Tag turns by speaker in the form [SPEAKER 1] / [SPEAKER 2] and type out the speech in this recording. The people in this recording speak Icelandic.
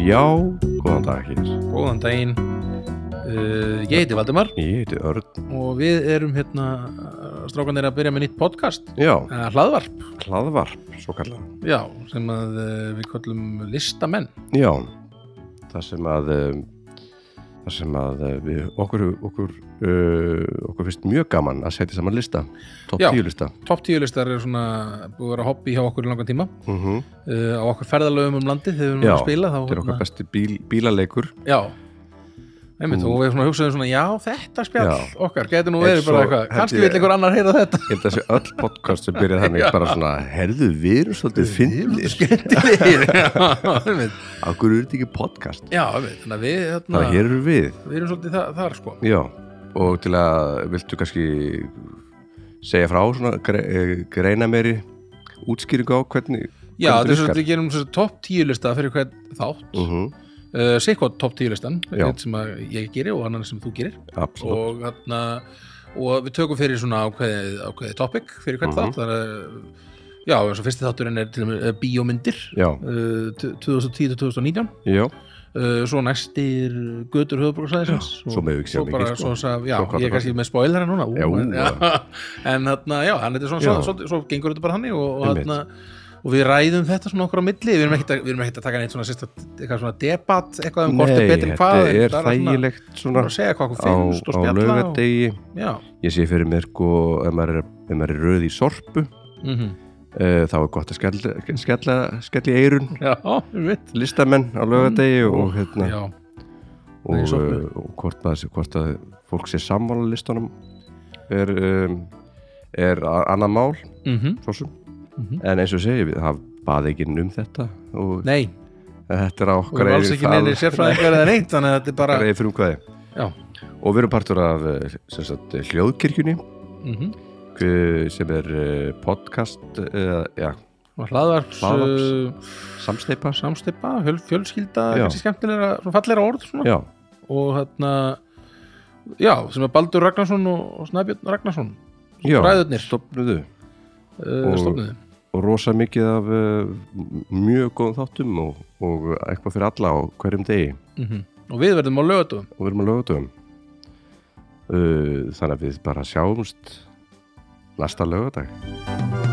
[SPEAKER 1] Já, góðan dag hér.
[SPEAKER 2] Góðan daginn uh, Ég heiti Valdimar
[SPEAKER 1] Ég heiti Örn.
[SPEAKER 2] og við erum hérna strákanir að byrja með nýtt podcast
[SPEAKER 1] Já,
[SPEAKER 2] uh, hlaðvarp,
[SPEAKER 1] hlaðvarp, svo kallan.
[SPEAKER 2] já, sem að uh, við kollum listamenn
[SPEAKER 1] Já, það sem að, um, það sem að uh, við, okkur, okkur, uh, okkur finnst mjög gaman að setja saman lista, topp
[SPEAKER 2] Já.
[SPEAKER 1] 10 lista.
[SPEAKER 2] Topp tíulistar er svona búið að vera hobby hjá okkur í langan tíma
[SPEAKER 1] Mm
[SPEAKER 2] uh, á okkur ferðalöfum um landið þegar við erum
[SPEAKER 1] Já,
[SPEAKER 2] að spila þá,
[SPEAKER 1] Þetta er okkar
[SPEAKER 2] hérna,
[SPEAKER 1] besti bíl, bílaleikur.
[SPEAKER 2] Já Einmitt, og við svona hugsaðum svona, já, þetta spjall
[SPEAKER 1] Já.
[SPEAKER 2] okkar, getur nú
[SPEAKER 1] En
[SPEAKER 2] verið bara
[SPEAKER 1] svo
[SPEAKER 2] eitthvað
[SPEAKER 1] held
[SPEAKER 2] kannski
[SPEAKER 1] ég-
[SPEAKER 2] vill einhver annar heyra þetta
[SPEAKER 1] Ég held að þessi öll podcast sem byrjaði þannig bara svona, herðu við erum svolítið finnir.
[SPEAKER 2] skemmtilegir Já, einmitt.
[SPEAKER 1] Af hverju er þetta ekki podcast?
[SPEAKER 2] já, einmitt, þannig að við hérna,
[SPEAKER 1] Það hér eru við.
[SPEAKER 2] við erum svolítið þa þar sko
[SPEAKER 1] Já, og til að viltu kannski segja frá svona gre eh, greina meiri útskýringu á hvernig
[SPEAKER 2] Já,
[SPEAKER 1] hvernig
[SPEAKER 2] þetta er svo
[SPEAKER 1] virkar?
[SPEAKER 2] að við gerum svo topp tíu lista fyrir hvern þátt uh,
[SPEAKER 1] Mhm,
[SPEAKER 2] Sikkot topp tíu listan,
[SPEAKER 1] Já.
[SPEAKER 2] einn sem að ég gerir og annan sem þú gerir
[SPEAKER 1] Absolutt,
[SPEAKER 2] og, þarna, og við tökum fyrir svona ákveðið, ákveðið topic fyrir hvern
[SPEAKER 1] Mhm.
[SPEAKER 2] þátt þar að, Já, eins og fyrsti þátturinn er til og með eh, bíómyndir
[SPEAKER 1] já,
[SPEAKER 2] uh, 2010-2019
[SPEAKER 1] já,
[SPEAKER 2] uh, Svo næstir götur höfuborgarsæðisins
[SPEAKER 1] svo megum við ekki sjá
[SPEAKER 2] Svo
[SPEAKER 1] mikið,
[SPEAKER 2] bara,
[SPEAKER 1] sko.
[SPEAKER 2] svo, sa, já,
[SPEAKER 1] Svo hvað það
[SPEAKER 2] ég er kannski með spoilera núna ú,
[SPEAKER 1] Já, ú,
[SPEAKER 2] en, en þarna, já, en þetta er svona,
[SPEAKER 1] Já.
[SPEAKER 2] svo, svo, svo gengur þetta bara hannig og, og,
[SPEAKER 1] Einmitt.
[SPEAKER 2] þarna, og við ræðum þetta svona okkur á milli, við erum ekkert að, við erum ekkert að taka neitt svona, sérsta, eitthvað svona debat eitthvað um hvort er betur en hvað
[SPEAKER 1] þetta
[SPEAKER 2] en
[SPEAKER 1] er
[SPEAKER 2] bara svona-
[SPEAKER 1] þægilegt svona
[SPEAKER 2] bara að segja hvað okkur
[SPEAKER 1] á,
[SPEAKER 2] finnst og
[SPEAKER 1] á
[SPEAKER 2] spjalla og,
[SPEAKER 1] laugardegi
[SPEAKER 2] já,
[SPEAKER 1] Ég sé fyrir mér sko, ef maður er, ef maður er röð í sorpu
[SPEAKER 2] mm
[SPEAKER 1] Uh, þá er gott að skella, skella, skella í eirun
[SPEAKER 2] já, við veit
[SPEAKER 1] listamenn á laugardegi og, hérna,
[SPEAKER 2] já,
[SPEAKER 1] og,
[SPEAKER 2] Nei, sóknu.
[SPEAKER 1] uh, og hvort, maður, sé- hvort að fólk sé sammála listanum er, um, er a- annað mál
[SPEAKER 2] mm
[SPEAKER 1] svo sem
[SPEAKER 2] Mhm.
[SPEAKER 1] en eins og segi, við- það baði ekki um þetta og
[SPEAKER 2] nei,
[SPEAKER 1] þetta er á
[SPEAKER 2] og
[SPEAKER 1] okkar
[SPEAKER 2] við erum alls ekki neinir sérfræðingar eða neitt, þannig að þetta er bara
[SPEAKER 1] okkar eigið frumkvæði
[SPEAKER 2] já,
[SPEAKER 1] og við erum partur af eh, sem sagt, eh, hljóðkirkjunni
[SPEAKER 2] mm -hmm.
[SPEAKER 1] eh, sem er eh, podcast eh, eða, já,
[SPEAKER 2] hlaðvarps
[SPEAKER 1] Hlaðvarps.
[SPEAKER 2] uh,
[SPEAKER 1] samsteipa
[SPEAKER 2] samstipa, fjölskylda
[SPEAKER 1] Já.
[SPEAKER 2] kannski skemmtilega, svona fallegra orð svona.
[SPEAKER 1] já,
[SPEAKER 2] og hérna já, sem er Baldur Ragnarsson og, og Snæbjörn Ragnarsson
[SPEAKER 1] já
[SPEAKER 2] Bræðurnir.
[SPEAKER 1] stofnuðu
[SPEAKER 2] uh,
[SPEAKER 1] Og-
[SPEAKER 2] stofnuði
[SPEAKER 1] og rosa mikið af eh, m- mjög góðum þáttum og, og eitthvað fyrir alla á hverjum degi
[SPEAKER 2] mm og við verðum á lögatum
[SPEAKER 1] og við erum Eh, að lögutum uh, þannig að við bara sjáumst næsta lögudag